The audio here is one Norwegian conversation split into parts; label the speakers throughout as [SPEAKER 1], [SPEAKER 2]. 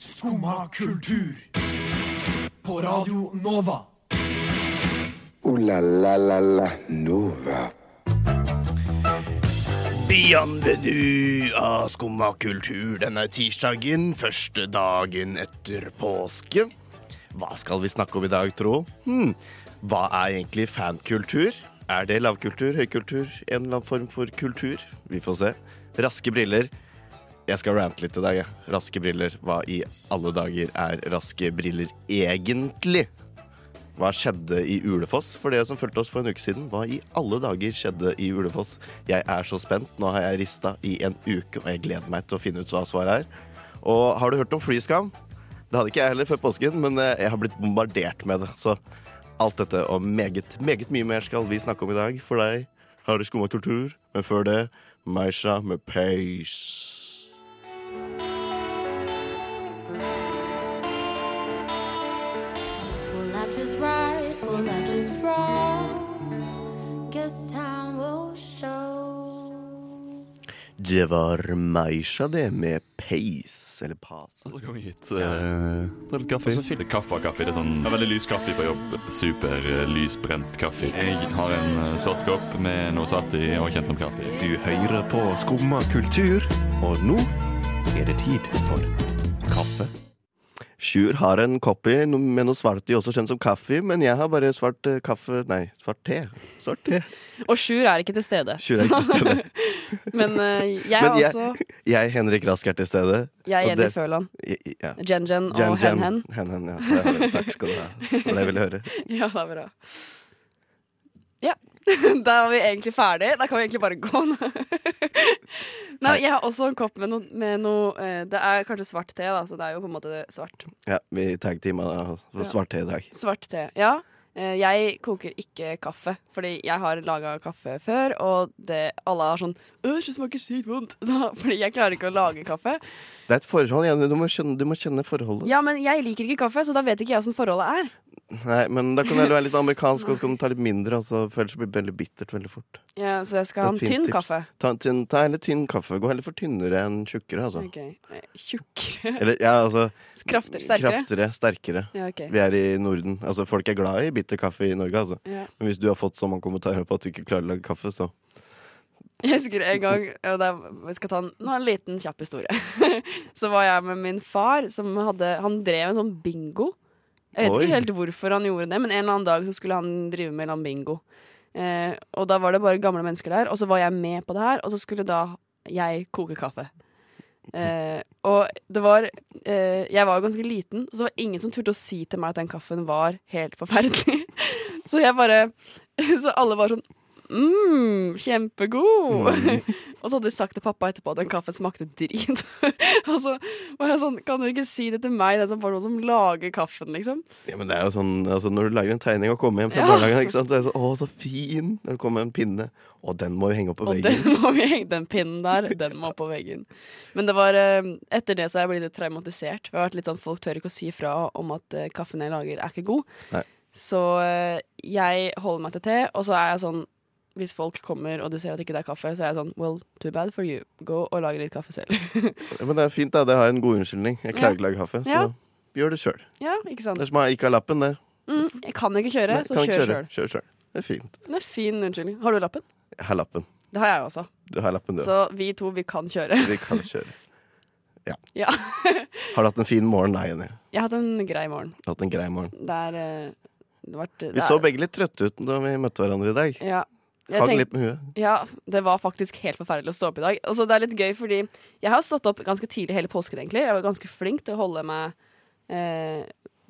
[SPEAKER 1] Skumma kultur. På Radio Nova.
[SPEAKER 2] Ooh la la la la Nova.
[SPEAKER 3] Bienvenue av ah, Skumma kultur denne tirsdagen, første dagen etter påske. Hva skal vi snakke om i dag, tro? Hm. Hva er egentlig fankultur? Er det lavkultur, høykultur, en eller annen form for kultur? Vi får se. Raske briller. Jeg skal rante litt i dag, jeg. Raske briller. Hva i alle dager er raske briller egentlig? Hva skjedde i Ulefoss? For dere som fulgte oss for en uke siden, hva i alle dager skjedde i Ulefoss? Jeg er så spent. Nå har jeg rista i en uke, og jeg gleder meg til å finne ut hva svaret er. Og har du hørt om flyskam? Det hadde ikke jeg heller før påsken, men eh, jeg har blitt bombardert med det. Så alt dette og meget, meget mye mer skal vi snakke om i dag. For deg har du skumma kultur, men før det Meisha med Pace.
[SPEAKER 4] Will I just right? Will I just wrong? Guess time will show.
[SPEAKER 3] Det var Meisha, det, med Pace, eller Pace.
[SPEAKER 5] Og så kom vi hit. eh, ta litt kaffe.
[SPEAKER 6] Så fyller kaffe av kaffe. Det er sånn, det er veldig lys kaffe på jobb. Super eh, lysbrent kaffe. Jeg har en eh, sort kopp med noe satt i og kjent som kaffe.
[SPEAKER 5] Du hører på Skumma kultur, og nå er det tid for kaffe.
[SPEAKER 3] Sjur har en copy no- med noe svart i, også kjent som kaffe, men jeg har bare svart eh, kaffe Nei, svart te. Svart te.
[SPEAKER 7] Og Sjur er ikke til stede.
[SPEAKER 3] Sjur er ikke til stede.
[SPEAKER 7] Men eh, jeg er
[SPEAKER 3] Men jeg-
[SPEAKER 7] også
[SPEAKER 3] Jeg, Henrik Rask, er til stede.
[SPEAKER 7] Jeg
[SPEAKER 3] og
[SPEAKER 7] er
[SPEAKER 3] det-
[SPEAKER 7] Jenny Føland.
[SPEAKER 3] I- i- Ja. Jen-
[SPEAKER 7] Jen-Jen og
[SPEAKER 3] Jen-
[SPEAKER 7] Hen-Hen.
[SPEAKER 3] Hen-Hen, ja. Det er det. Takk skal du ha. Det var det jeg ville høre.
[SPEAKER 7] Ja, det er bra. Ja. Da er vi egentlig ferdig. Da kan vi egentlig bare gå. Nei, jeg har også en kopp med noe, med noe eh, Det er kanskje svart te, da, så det er jo på en måte svart.
[SPEAKER 3] Ja, vi tagteama for svart te i dag.
[SPEAKER 7] Svart te, ja. Eh, Jeg koker ikke kaffe, fordi jeg har laga kaffe før, og det, alle er sånn «Øsj, det smaker sykt vondt. Da, fordi jeg klarer ikke å lage kaffe.
[SPEAKER 3] Det er et forhold, Jenny. Du må skjønne, du må kjenne forholdet.
[SPEAKER 7] Ja, men jeg liker ikke kaffe, så da vet ikke jeg åssen forholdet er.
[SPEAKER 3] Nei, men da kan du heller være litt amerikansk, og så kan du ta litt mindre, og så føles det blir veldig bittert veldig fort.
[SPEAKER 7] Ja, så jeg
[SPEAKER 3] Det er
[SPEAKER 7] skal ha en
[SPEAKER 3] et fint
[SPEAKER 7] tynn
[SPEAKER 3] tips.
[SPEAKER 7] kaffe.
[SPEAKER 3] Ta, en tynn, ta heller tynn kaffe. Gå heller for tynnere enn tjukkere, altså.
[SPEAKER 7] Ok, eh, Tjukkere.
[SPEAKER 3] Eller, ja, altså
[SPEAKER 7] Krafter, sterkere.
[SPEAKER 3] Kraftigere, sterkere.
[SPEAKER 7] Ja, ok.
[SPEAKER 3] Vi er i Norden. Altså, folk er glad i bitter kaffe i Norge, altså.
[SPEAKER 7] Ja.
[SPEAKER 3] Men hvis du har fått så mange kommentarer på at du ikke klarer å lage kaffe, så
[SPEAKER 7] Jeg husker en gang og det er, jeg skal ta en, Nå en liten kjapp historie. så var jeg med min far, som hadde Han drev en sånn bingo. Jeg vet
[SPEAKER 3] Oi.
[SPEAKER 7] ikke helt hvorfor han gjorde det, men en eller annen dag så skulle han drive med en eller annen bingo. Eh, og da var det bare gamle mennesker der, og så var jeg med på det her, og så skulle da jeg koke kaffe. Eh, og det var eh, Jeg var jo ganske liten, så det var ingen som turte å si til meg at den kaffen var helt forferdelig. så jeg bare Så alle var sånn mm, kjempegod. og så hadde de sagt til pappa etterpå at den kaffen smakte drit. og så var jeg sånn Kan dere ikke si det til meg, den som var noen som lager kaffen, liksom?
[SPEAKER 3] ja, men det er jo sånn, altså Når du lager en tegning og kommer hjem fra
[SPEAKER 7] Ja.
[SPEAKER 3] barnehagen ikke sant? Det er sånn, 'Å, så fin!' Når det kommer en pinne. Å, den må vi henge opp på
[SPEAKER 7] Og
[SPEAKER 3] veggen.
[SPEAKER 7] den, må vi, henge- den pinnen der, den må på veggen. Men det var, eh, etter det så har jeg blitt litt traumatisert. For jeg har vært litt sånn, Folk tør ikke å si fra om at eh, kaffen jeg lager, er ikke god.
[SPEAKER 3] Nei.
[SPEAKER 7] Så eh, jeg holder meg til te, og så er jeg sånn hvis folk kommer og du ser at ikke det er kaffe, så er jeg sånn Well, too bad for you. Gå og lag litt kaffe selv.
[SPEAKER 3] Ja, Men det er fint, da. Det har jeg en god unnskyldning. Jeg klarer
[SPEAKER 7] Ja.
[SPEAKER 3] ikke å lage kaffe, så
[SPEAKER 7] Ja.
[SPEAKER 3] gjør det sjøl.
[SPEAKER 7] ja, ikke sant?
[SPEAKER 3] Det er som å ikke ha lappen, det.
[SPEAKER 7] Mm, jeg kan ikke kjøre,
[SPEAKER 3] Nei,
[SPEAKER 7] så
[SPEAKER 3] kan ikke
[SPEAKER 7] kjør
[SPEAKER 3] kjøre.
[SPEAKER 7] sjøl.
[SPEAKER 3] Kjør sjøl. Det er fint.
[SPEAKER 7] Det er fin unnskyldning. Har du lappen?
[SPEAKER 3] Jeg har lappen.
[SPEAKER 7] Det har jeg også.
[SPEAKER 3] Du har lappen, du.
[SPEAKER 7] Så vi to, vi kan kjøre.
[SPEAKER 3] Vi kan kjøre. Ja.
[SPEAKER 7] Ja.
[SPEAKER 3] har du hatt en fin morgen? Nei, Jenny.
[SPEAKER 7] Jeg har hatt en grei morgen.
[SPEAKER 3] Du har hatt en grei morgen.
[SPEAKER 7] Det er eh, det har vært-
[SPEAKER 3] Vi
[SPEAKER 7] det
[SPEAKER 3] så
[SPEAKER 7] er-
[SPEAKER 3] begge litt trøtte ut da vi møtte hverandre i dag.
[SPEAKER 7] Ja. Jeg
[SPEAKER 3] Hang
[SPEAKER 7] tenk-
[SPEAKER 3] litt med huet.
[SPEAKER 7] ja, det var faktisk helt forferdelig å stå opp i dag. Og så det er litt gøy, fordi jeg har stått opp ganske tidlig hele påsken, egentlig. Jeg var ganske flink til å holde meg eh,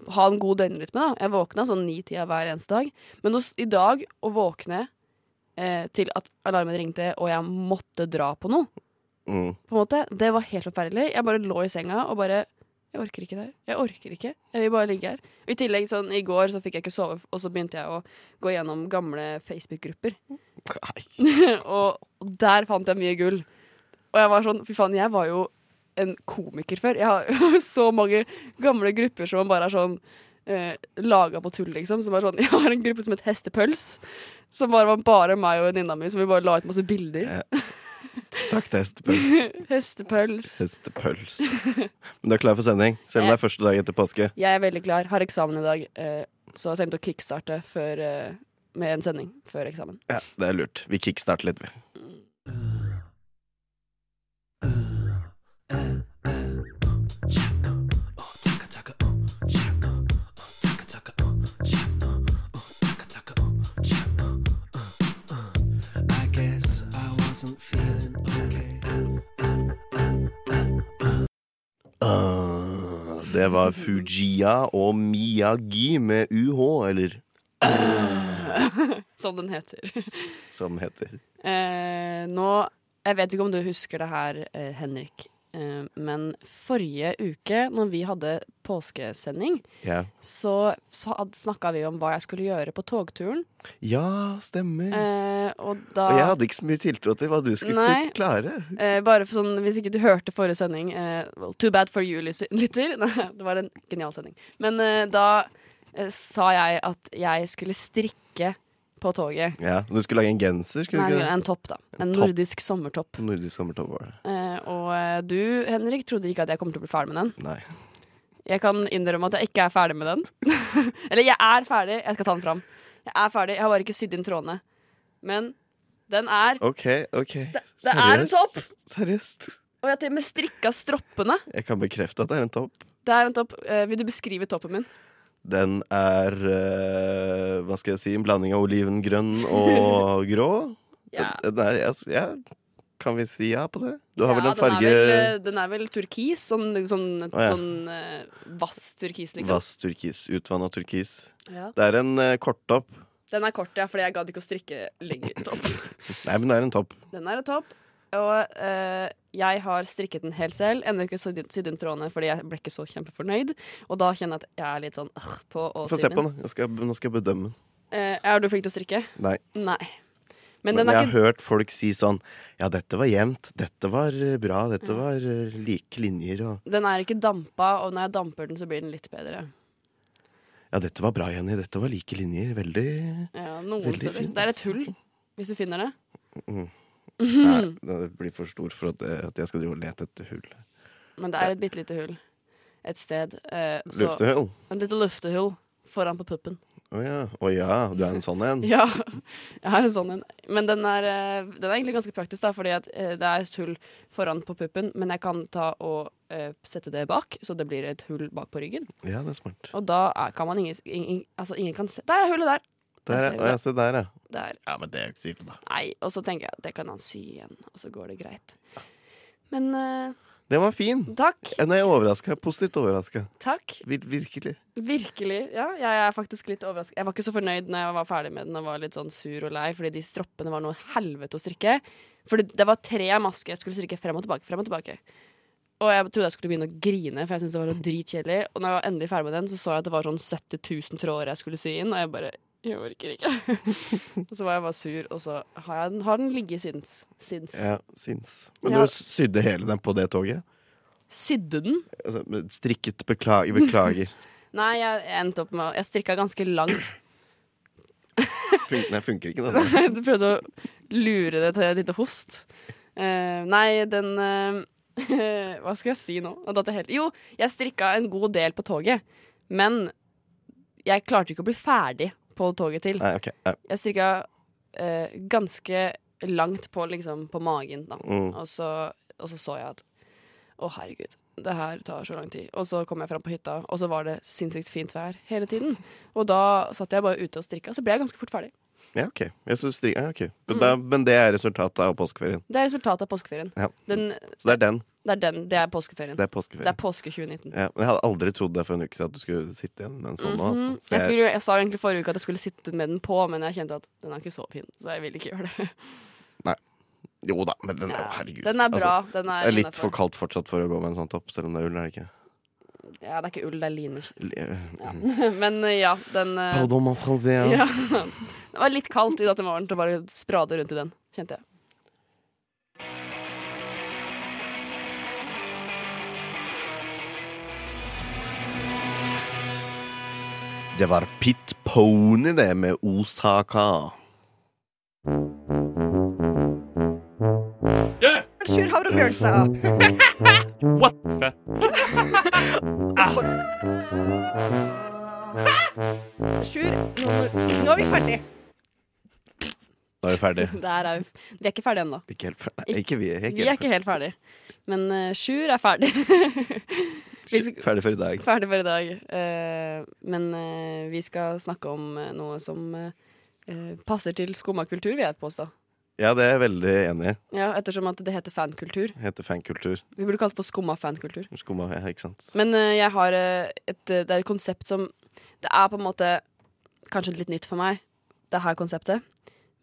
[SPEAKER 7] Ha en god døgnrytme, da. Jeg våkna sånn ni-tida hver eneste dag. Men å s- i dag å våkne eh, til at alarmen ringte, og jeg måtte dra på noe,
[SPEAKER 3] Mm.
[SPEAKER 7] på en måte, det var helt forferdelig. Jeg bare lå i senga og bare Jeg orker ikke det her. Jeg orker ikke. Jeg vil bare ligge her. Og I tillegg, sånn i går så fikk jeg ikke sove, og så begynte jeg å gå gjennom gamle Facebook-grupper. og, og der fant jeg mye gull. Og jeg var sånn Fy faen, jeg var jo en komiker før. Jeg har jo så mange gamle grupper som bare er sånn eh, laga på tull, liksom. Som er sånn, jeg har en gruppe som het Hestepøls. Som bare var bare meg og venninna mi, som vi bare la ut masse bilder.
[SPEAKER 3] Ja. Takk til hestepøls.
[SPEAKER 7] Hestepøls.
[SPEAKER 3] Hestepøls. Men du er klar for sending, selv om det er første dag etter påske.
[SPEAKER 7] Jeg er veldig klar. Har eksamen i dag, eh, så jeg tenkte å kickstarte før, eh, med en sending før eksamen.
[SPEAKER 3] Ja, Det er lurt. Vi kickstarter litt, vi. Ah, Det var Fujiya og Miyagi med UH, eller
[SPEAKER 7] Som den heter.
[SPEAKER 3] som den heter.
[SPEAKER 7] Eh, nå Jeg vet ikke om du husker det her, eh, Henrik, eh, men forrige uke, når vi hadde påskesending,
[SPEAKER 3] Ja,
[SPEAKER 7] så snakka vi om hva jeg skulle gjøre på togturen.
[SPEAKER 3] ja stemmer.
[SPEAKER 7] Eh, og da
[SPEAKER 3] Og jeg hadde ikke så mye tiltro til hva du skulle
[SPEAKER 7] Nei.
[SPEAKER 3] klare.
[SPEAKER 7] Eh, bare for sånn, Hvis ikke du hørte forrige sending eh, well, Too bad for you, lys- lytter. Nei, det var en genial sending. Men eh, da eh, sa jeg at jeg skulle strikke på toget.
[SPEAKER 3] Ja, Du skulle lage en genser, skulle
[SPEAKER 7] Nei,
[SPEAKER 3] du ikke det?
[SPEAKER 7] en topp, da. En
[SPEAKER 3] En topp.
[SPEAKER 7] nordisk sommertopp.
[SPEAKER 3] Nordisk sommertopp var det.
[SPEAKER 7] Eh, og eh, du, Henrik, trodde ikke at jeg kom til å bli ferdig med den.
[SPEAKER 3] Nei.
[SPEAKER 7] Jeg kan innrømme at jeg ikke er ferdig med den. Eller jeg er ferdig. Jeg skal ta den fram. Jeg er ferdig. Jeg har bare ikke sydd inn trådene. Men den er
[SPEAKER 3] OK, OK. Det,
[SPEAKER 7] det er en topp!
[SPEAKER 3] Seriøst.
[SPEAKER 7] Og jeg har til og med strikka stroppene.
[SPEAKER 3] Jeg kan bekrefte at det er en topp.
[SPEAKER 7] Det er en topp. Eh, vil du beskrive toppen min?
[SPEAKER 3] Den er eh, Hva skal jeg si? En blanding av olivengrønn og grå.
[SPEAKER 7] Ja.
[SPEAKER 3] Den, den er, jeg, ja, kan vi si ja på det? Du har
[SPEAKER 7] Ja,
[SPEAKER 3] vel en
[SPEAKER 7] Den
[SPEAKER 3] farge
[SPEAKER 7] er vel, eh, den er vel turkis. Sånn, sånn,
[SPEAKER 3] Å, ja.
[SPEAKER 7] sånn eh, vass turkis, liksom.
[SPEAKER 3] Vass turkis. Utvanna turkis.
[SPEAKER 7] Ja.
[SPEAKER 3] Det er en eh, korttopp.
[SPEAKER 7] Den er kort, ja, fordi jeg gadd ikke å strikke lenger. Topp.
[SPEAKER 3] Nei, men det er en topp.
[SPEAKER 7] Den er en topp. Og eh, jeg har strikket den helt selv. Ennå ikke sydd sydd inn trådene fordi jeg ble ikke så kjempefornøyd. Og da kjenner jeg at jeg er litt sånn øh, på å
[SPEAKER 3] Få
[SPEAKER 7] sy
[SPEAKER 3] se
[SPEAKER 7] den.
[SPEAKER 3] på den. da. Jeg skal, nå skal jeg bedømme den.
[SPEAKER 7] Eh, er du flink til å strikke?
[SPEAKER 3] Nei.
[SPEAKER 7] Nei. Men,
[SPEAKER 3] Men
[SPEAKER 7] den er
[SPEAKER 3] jeg
[SPEAKER 7] ikke
[SPEAKER 3] har hørt folk si sånn Ja, dette var jevnt. Dette var eh, bra.
[SPEAKER 7] Mm.
[SPEAKER 3] Dette var eh, like linjer og
[SPEAKER 7] Den er ikke dampa, og når jeg damper den, så blir den litt bedre.
[SPEAKER 3] Ja, dette var bra, Jenny. Dette var like linjer. Veldig
[SPEAKER 7] Ja, noen
[SPEAKER 3] Veldig
[SPEAKER 7] steder.
[SPEAKER 3] fint,
[SPEAKER 7] Det er
[SPEAKER 3] altså.
[SPEAKER 7] et hull, hvis du finner det.
[SPEAKER 3] Nei, det blir for stort for at, eh, at jeg skal drive og lete etter hull.
[SPEAKER 7] Men det er et bitte lite hull et sted. Eh, så,
[SPEAKER 3] Luftehull?
[SPEAKER 7] et lite luftehull foran på puppen.
[SPEAKER 3] Å ja. Å ja, du er en sånn en?
[SPEAKER 7] Ja, jeg har en sånn en. Men den er, eh, den er egentlig ganske praktisk, da, fordi at eh, det er et hull foran på puppen, men jeg kan ta og eh, sette det bak, så det blir et hull bak på ryggen.
[SPEAKER 3] Ja, det er smart.
[SPEAKER 7] Og da er, kan man ingen, ingen Altså, ingen kan se Der er hullet der!
[SPEAKER 3] Der,
[SPEAKER 7] ser
[SPEAKER 3] ja.
[SPEAKER 7] vi
[SPEAKER 3] Å, ja, se der, ja.
[SPEAKER 7] Der.
[SPEAKER 3] Ja, men det er jo ikke så ille, da.
[SPEAKER 7] Nei. Og så tenker jeg at det kan han sy igjen, og så går det greit. Men eh,
[SPEAKER 3] Den var fin.
[SPEAKER 7] takk.
[SPEAKER 3] Ja, Nei, jeg er overraska. Positivt overraska.
[SPEAKER 7] Takk.
[SPEAKER 3] Vir virkelig.
[SPEAKER 7] Virkelig. Ja, jeg er faktisk litt overrasket. Jeg var ikke så fornøyd når jeg var ferdig med den og var litt sånn sur og lei, fordi de stroppene var noe helvete å strikke. For det, det var tre masker jeg skulle strikke frem og tilbake, frem og tilbake. Og jeg trodde jeg skulle begynne å grine, for jeg syntes det var noe dritkjedelig. Og når jeg var endelig ferdig med den, så så jeg at det var sånn 70 000 tråder jeg skulle sy inn, og jeg bare Jeg orker ikke. og så var jeg bare sur, og så har, jeg, den- har den ligget sinns. sinns.
[SPEAKER 3] Ja, sinns. Men
[SPEAKER 7] Ja.
[SPEAKER 3] du sydde hele den på det toget?
[SPEAKER 7] Sydde den?
[SPEAKER 3] Altså, strikket beklager. beklager.
[SPEAKER 7] Nei, jeg endte opp med å Jeg strikka ganske langt.
[SPEAKER 3] Fun nei, funker ikke, den. da.
[SPEAKER 7] Du prøvde å lure det til et lite host. Eh, nei, den eh, Hva skal jeg si nå? Nå datt jeg helt- Jo, jeg strikka en god del på toget, men jeg klarte ikke å bli ferdig på toget til.
[SPEAKER 3] Nei, ok. Nei.
[SPEAKER 7] Jeg strikka eh, ganske langt på, liksom, på magen, da.
[SPEAKER 3] Mm.
[SPEAKER 7] Og, så, og så så jeg at å, herregud, det her tar så lang tid. Og så kom jeg fram på hytta, og så var det sinnssykt fint vær hele tiden. Og da satt jeg bare ute og strikka, så ble jeg ganske fort ferdig.
[SPEAKER 3] Ja, ok. Jeg synes stri ja, ok. Men,
[SPEAKER 7] Mm.
[SPEAKER 3] da, men det er resultatet av påskeferien.
[SPEAKER 7] Det er resultatet av påskeferien.
[SPEAKER 3] Ja.
[SPEAKER 7] Den,
[SPEAKER 3] Så det er den.
[SPEAKER 7] Det er, den, det er påskeferien.
[SPEAKER 3] Det
[SPEAKER 7] Det er,
[SPEAKER 3] er påskeferien.
[SPEAKER 7] påske 2019.
[SPEAKER 3] Ja, men jeg hadde aldri trodd det for en uke siden at du skulle sitte igjen med en sånn nå. Altså.
[SPEAKER 7] Mhm.
[SPEAKER 3] Så
[SPEAKER 7] jeg,
[SPEAKER 3] jeg-
[SPEAKER 7] skulle, jeg sa jo egentlig forrige uke at jeg skulle sitte med den på, men jeg kjente at den er ikke så fin, så jeg vil ikke gjøre det.
[SPEAKER 3] Jo da, men den, å, herregud.
[SPEAKER 7] Den er bra.
[SPEAKER 3] Altså,
[SPEAKER 7] Den
[SPEAKER 3] det
[SPEAKER 7] er
[SPEAKER 3] er litt
[SPEAKER 7] innenfor.
[SPEAKER 3] for kaldt fortsatt for å gå med en sånn topp, selv om det er ull, er det ikke?
[SPEAKER 7] Ja, det er ikke ull, det er liner.
[SPEAKER 3] Ja.
[SPEAKER 7] Men eh, ja, den eh,
[SPEAKER 3] Pardon, mon français.
[SPEAKER 7] ja. Det var litt kaldt i dag til morgen til å bare sprade rundt i den, kjente jeg.
[SPEAKER 3] Det var Pit Pony, det, med Osaka.
[SPEAKER 6] Yeah!
[SPEAKER 8] Bjørn Bjørnstad.
[SPEAKER 6] What the
[SPEAKER 8] Sjur, nå, nå er vi ferdig.
[SPEAKER 3] Da er vi ferdig.
[SPEAKER 7] Der er vi. Vi er ikke ferdige ennå.
[SPEAKER 3] Ikke helt ferdig. Nei, ikke vi. jeg er Ikke
[SPEAKER 7] Vi er
[SPEAKER 3] helt
[SPEAKER 7] ikke helt ferdige. Men eh, Sjur er ferdig. vi skal,
[SPEAKER 3] ferdig. ferdig for i dag.
[SPEAKER 7] ferdig for i dag. Eh, men eh, vi skal snakke om eh, noe som eh, eh, passer til skummakultur, vil jeg påstå.
[SPEAKER 3] Ja, det er jeg veldig enig i.
[SPEAKER 7] Ja, ettersom at det heter fankultur.
[SPEAKER 3] Heter fankultur.
[SPEAKER 7] Vi burde kalt det for skumma fankultur.
[SPEAKER 3] Skumma, ja, ikke sant.
[SPEAKER 7] Men eh, jeg har eh, et, eh, det er et konsept som Det er på en måte kanskje litt nytt for meg, det her konseptet.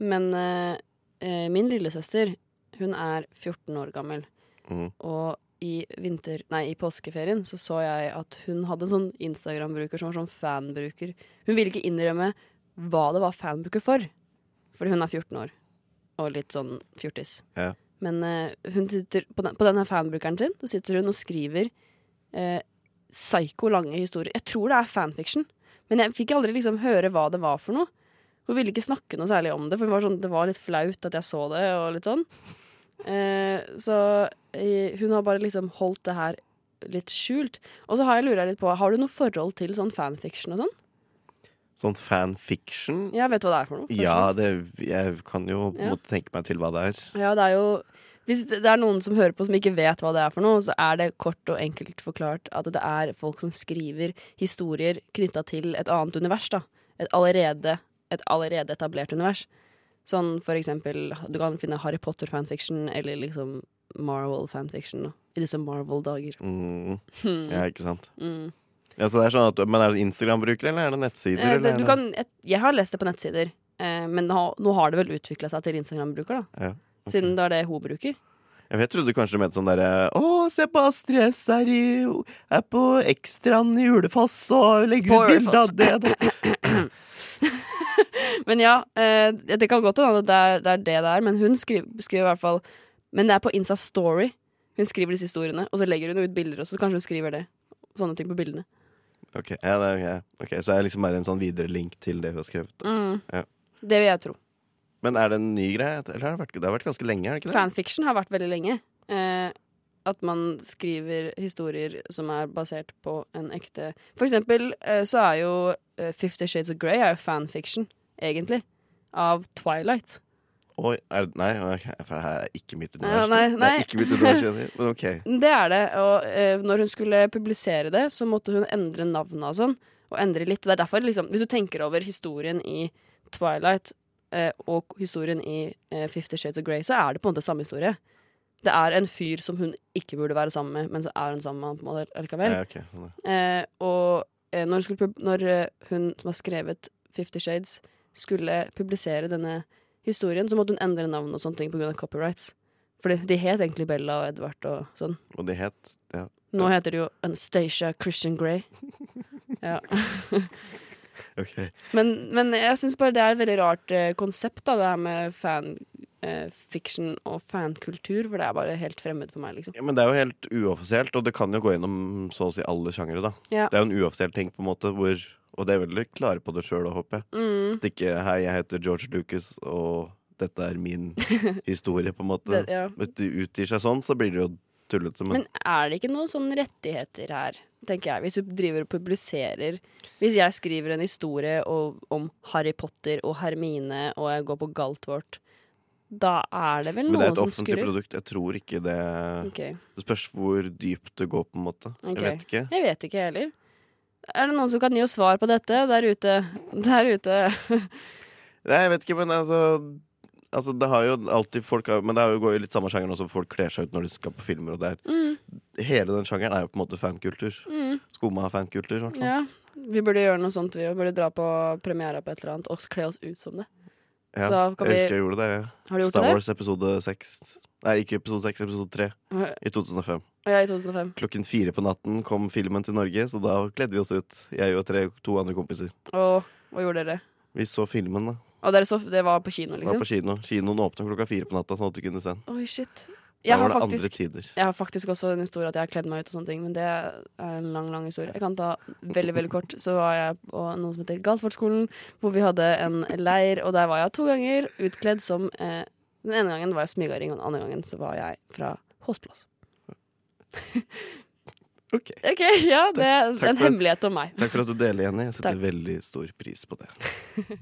[SPEAKER 7] Men eh, eh, min lillesøster, hun er 14 år gammel.
[SPEAKER 3] Mhm.
[SPEAKER 7] Og i, vinter, nei, i påskeferien så så jeg at hun hadde en sånn Instagram-bruker som var sånn fanbruker. Hun ville ikke innrømme hva det var fanbruker for, fordi hun er 14 år og litt sånn fjortis.
[SPEAKER 3] Ja.
[SPEAKER 7] Men eh, hun sitter på, den, på denne fanbrukeren sin så sitter hun og skriver eh, psyko lange historier. Jeg tror det er fanfiction, men jeg fikk aldri liksom høre hva det var for noe. Hun ville ikke snakke noe særlig om det, for hun var sånn, det var litt flaut at jeg så det. og litt sånn. Eh, så eh, hun har bare liksom holdt det her litt skjult. Og så har jeg lura litt på, har du noe forhold til sånn fanfiction og sånn?
[SPEAKER 3] Sånn fanfiction
[SPEAKER 7] Ja, vet du hva det er sånn for noe? først og
[SPEAKER 3] Ja,
[SPEAKER 7] fremst?
[SPEAKER 3] det, jeg kan jo på en
[SPEAKER 7] Ja.
[SPEAKER 3] måte tenke meg til hva det er.
[SPEAKER 7] Ja, det er jo Hvis det det er noen som hører på som ikke vet hva det er for noe, så er det kort og enkelt forklart at det er folk som skriver historier knytta til et annet univers, da. Et allerede, et allerede etablert univers. Sånn for eksempel Du kan finne Harry Potter-fanfiction eller liksom Marvel-fanfiction da, i disse Marvel-dager.
[SPEAKER 3] Mm.
[SPEAKER 7] Hmm.
[SPEAKER 3] Ja, ikke sant.
[SPEAKER 7] Mm.
[SPEAKER 3] Ja, så det er sånn at, men er det Instagram-bruker, eller er det nettsider?
[SPEAKER 7] Eh,
[SPEAKER 3] eller er
[SPEAKER 7] det, du
[SPEAKER 3] det-
[SPEAKER 7] kan, jeg, jeg har lest det på nettsider, eh, men nå, nå har det vel utvikla seg til Instagram-bruker, da.
[SPEAKER 3] Ja, ok.
[SPEAKER 7] Siden det er det hun bruker.
[SPEAKER 3] Jeg vet, jeg trodde kanskje du mente sånn derre Å, se på Astrid S er, i, er på Ekstraen i Ulefoss og legger
[SPEAKER 7] På
[SPEAKER 3] ut bilde
[SPEAKER 7] Ulefoss.
[SPEAKER 3] av det. det.
[SPEAKER 7] Men ja, eh, det kan godt hende at det er det er det det er, men hun skriver, skriver i hvert fall Men det er på Insta Story. Hun skriver disse historiene, og så legger hun ut bilder, og så kanskje hun skriver det. Sånne ting på bildene.
[SPEAKER 3] Ok, ja, det er, ja. ok, Så er det liksom bare en sånn videre link til det hun har skrevet. Ja.
[SPEAKER 7] Mm. Det vil jeg tro.
[SPEAKER 3] Men er det en ny greie? Eller har det, vært, det har vært ganske lenge, er det ikke det?
[SPEAKER 7] Fanfiction har vært veldig lenge. Eh, at man skriver historier som er basert på en ekte For eksempel eh, så er jo eh, Fifty Shades of Grey er jo fanfiction, egentlig. Av Twilight.
[SPEAKER 3] Oi, er, det- nei, ok, for det her er ikke mitt
[SPEAKER 7] Nei,
[SPEAKER 3] univers.
[SPEAKER 7] nei,
[SPEAKER 3] Det er
[SPEAKER 7] nei.
[SPEAKER 3] ikke mitt univers, kjenner jeg. Men ok.
[SPEAKER 7] Det er det. Og eh, når hun skulle publisere det, så måtte hun endre navnet og sånn. Og endre litt. Det er derfor, liksom, hvis du tenker over historien i Twilight eh, og historien i eh, Fifty Shades of Grey, så er det på en måte samme historie. Det er en fyr som hun ikke burde være sammen med, men så er hun sammen med han på en måte allikevel.
[SPEAKER 3] Ja, ok, sånn, ja.
[SPEAKER 7] Eh, og eh, når, hun skulle pub når eh, hun som har skrevet Fifty Shades, skulle publisere denne historien, så måtte hun endre navn og sånne ting pga. copyrights. For de het egentlig Bella og Edvard og sånn.
[SPEAKER 3] Og det het ja.
[SPEAKER 7] Nå heter det jo Anastacia Christian Grey. Ja.
[SPEAKER 3] Ok.
[SPEAKER 7] Men, men jeg syns bare det er et veldig rart eh, konsept, da, det her med fanfiction og fankultur, for det er bare helt fremmed for meg, liksom.
[SPEAKER 3] Ja, men det er jo helt uoffisielt, og det kan jo gå gjennom så å si alle sjangere, da.
[SPEAKER 7] Ja.
[SPEAKER 3] Det er jo en uoffisiell ting, på en måte, hvor Og det er veldig klare på det sjøl, håper jeg.
[SPEAKER 7] Mm,
[SPEAKER 3] At ikke 'hei, jeg heter George Lucas, og dette er min historie', på en måte.
[SPEAKER 7] det, ja.
[SPEAKER 3] Hvis du utgir seg sånn, så blir det jo tullete, men,
[SPEAKER 7] Men er det ikke noen sånne rettigheter her, tenker jeg, hvis du driver og publiserer Hvis jeg skriver en historie og, om Harry Potter og Hermine, og jeg går på Galtvort, da er det vel
[SPEAKER 3] men det er
[SPEAKER 7] noen
[SPEAKER 3] et
[SPEAKER 7] som
[SPEAKER 3] offentlig
[SPEAKER 7] skurrer?
[SPEAKER 3] produkt. Jeg tror ikke det
[SPEAKER 7] Ok.
[SPEAKER 3] Det spørs hvor dypt det går, på en måte.
[SPEAKER 7] Ok.
[SPEAKER 3] Jeg vet ikke.
[SPEAKER 7] Jeg vet ikke heller. Er det noen som kan gi oss svar på dette der ute? Der ute.
[SPEAKER 3] Nei, jeg vet ikke, men altså Altså, det har jo alltid folk har- Men det har jo går jo litt samme sjangeren også. Folk kler seg ut når de skal på filmer. Og det er. Hele den sjangeren er jo på en måte fankultur. Mm. Skumma fankultur. i hvert fall.
[SPEAKER 7] Ja. Vi burde gjøre noe sånt, vi òg. Burde dra på premiere på et eller annet og kle oss ut som det.
[SPEAKER 3] Ja,
[SPEAKER 7] Så kan
[SPEAKER 3] jeg
[SPEAKER 7] vi-
[SPEAKER 3] husker jeg gjorde det.
[SPEAKER 7] Har du gjort
[SPEAKER 3] Star
[SPEAKER 7] det?
[SPEAKER 3] Wars episode seks. Nei, ikke episode seks, episode tre. I 2005.
[SPEAKER 7] Ja, i 2005.
[SPEAKER 3] Klokken fire på natten kom filmen til Norge, så da kledde vi oss ut. Jeg og tre, to andre kompiser.
[SPEAKER 7] Og hva gjorde dere?
[SPEAKER 3] Vi så filmen, da.
[SPEAKER 7] Og dere så, det var på kino,
[SPEAKER 3] Var
[SPEAKER 7] liksom?
[SPEAKER 3] på kino. Kinoen åpna klokka fire på natta, sånn at du kunne se den.
[SPEAKER 7] Oi, shit.
[SPEAKER 3] Da
[SPEAKER 7] Jeg
[SPEAKER 3] var
[SPEAKER 7] har,
[SPEAKER 3] det andre
[SPEAKER 7] faktisk,
[SPEAKER 3] tider.
[SPEAKER 7] jeg har faktisk også en historie at jeg har kledd meg ut og sånne ting, men det er en lang, lang historie. Jeg kan ta veldig, veldig kort. Så var jeg på noe som heter Galtfortskolen, hvor vi hadde en leir, og der var jeg to ganger utkledd som eh, Den ene gangen var jeg smygaring, og den andre gangen så var jeg fra Hosteplass.
[SPEAKER 3] Ok.
[SPEAKER 7] OK, ja, det er
[SPEAKER 3] takk
[SPEAKER 7] en
[SPEAKER 3] for-
[SPEAKER 7] hemmelighet om meg.
[SPEAKER 3] Takk for at du deler, Jenny. Jeg setter
[SPEAKER 7] Takk.
[SPEAKER 3] veldig stor pris på det.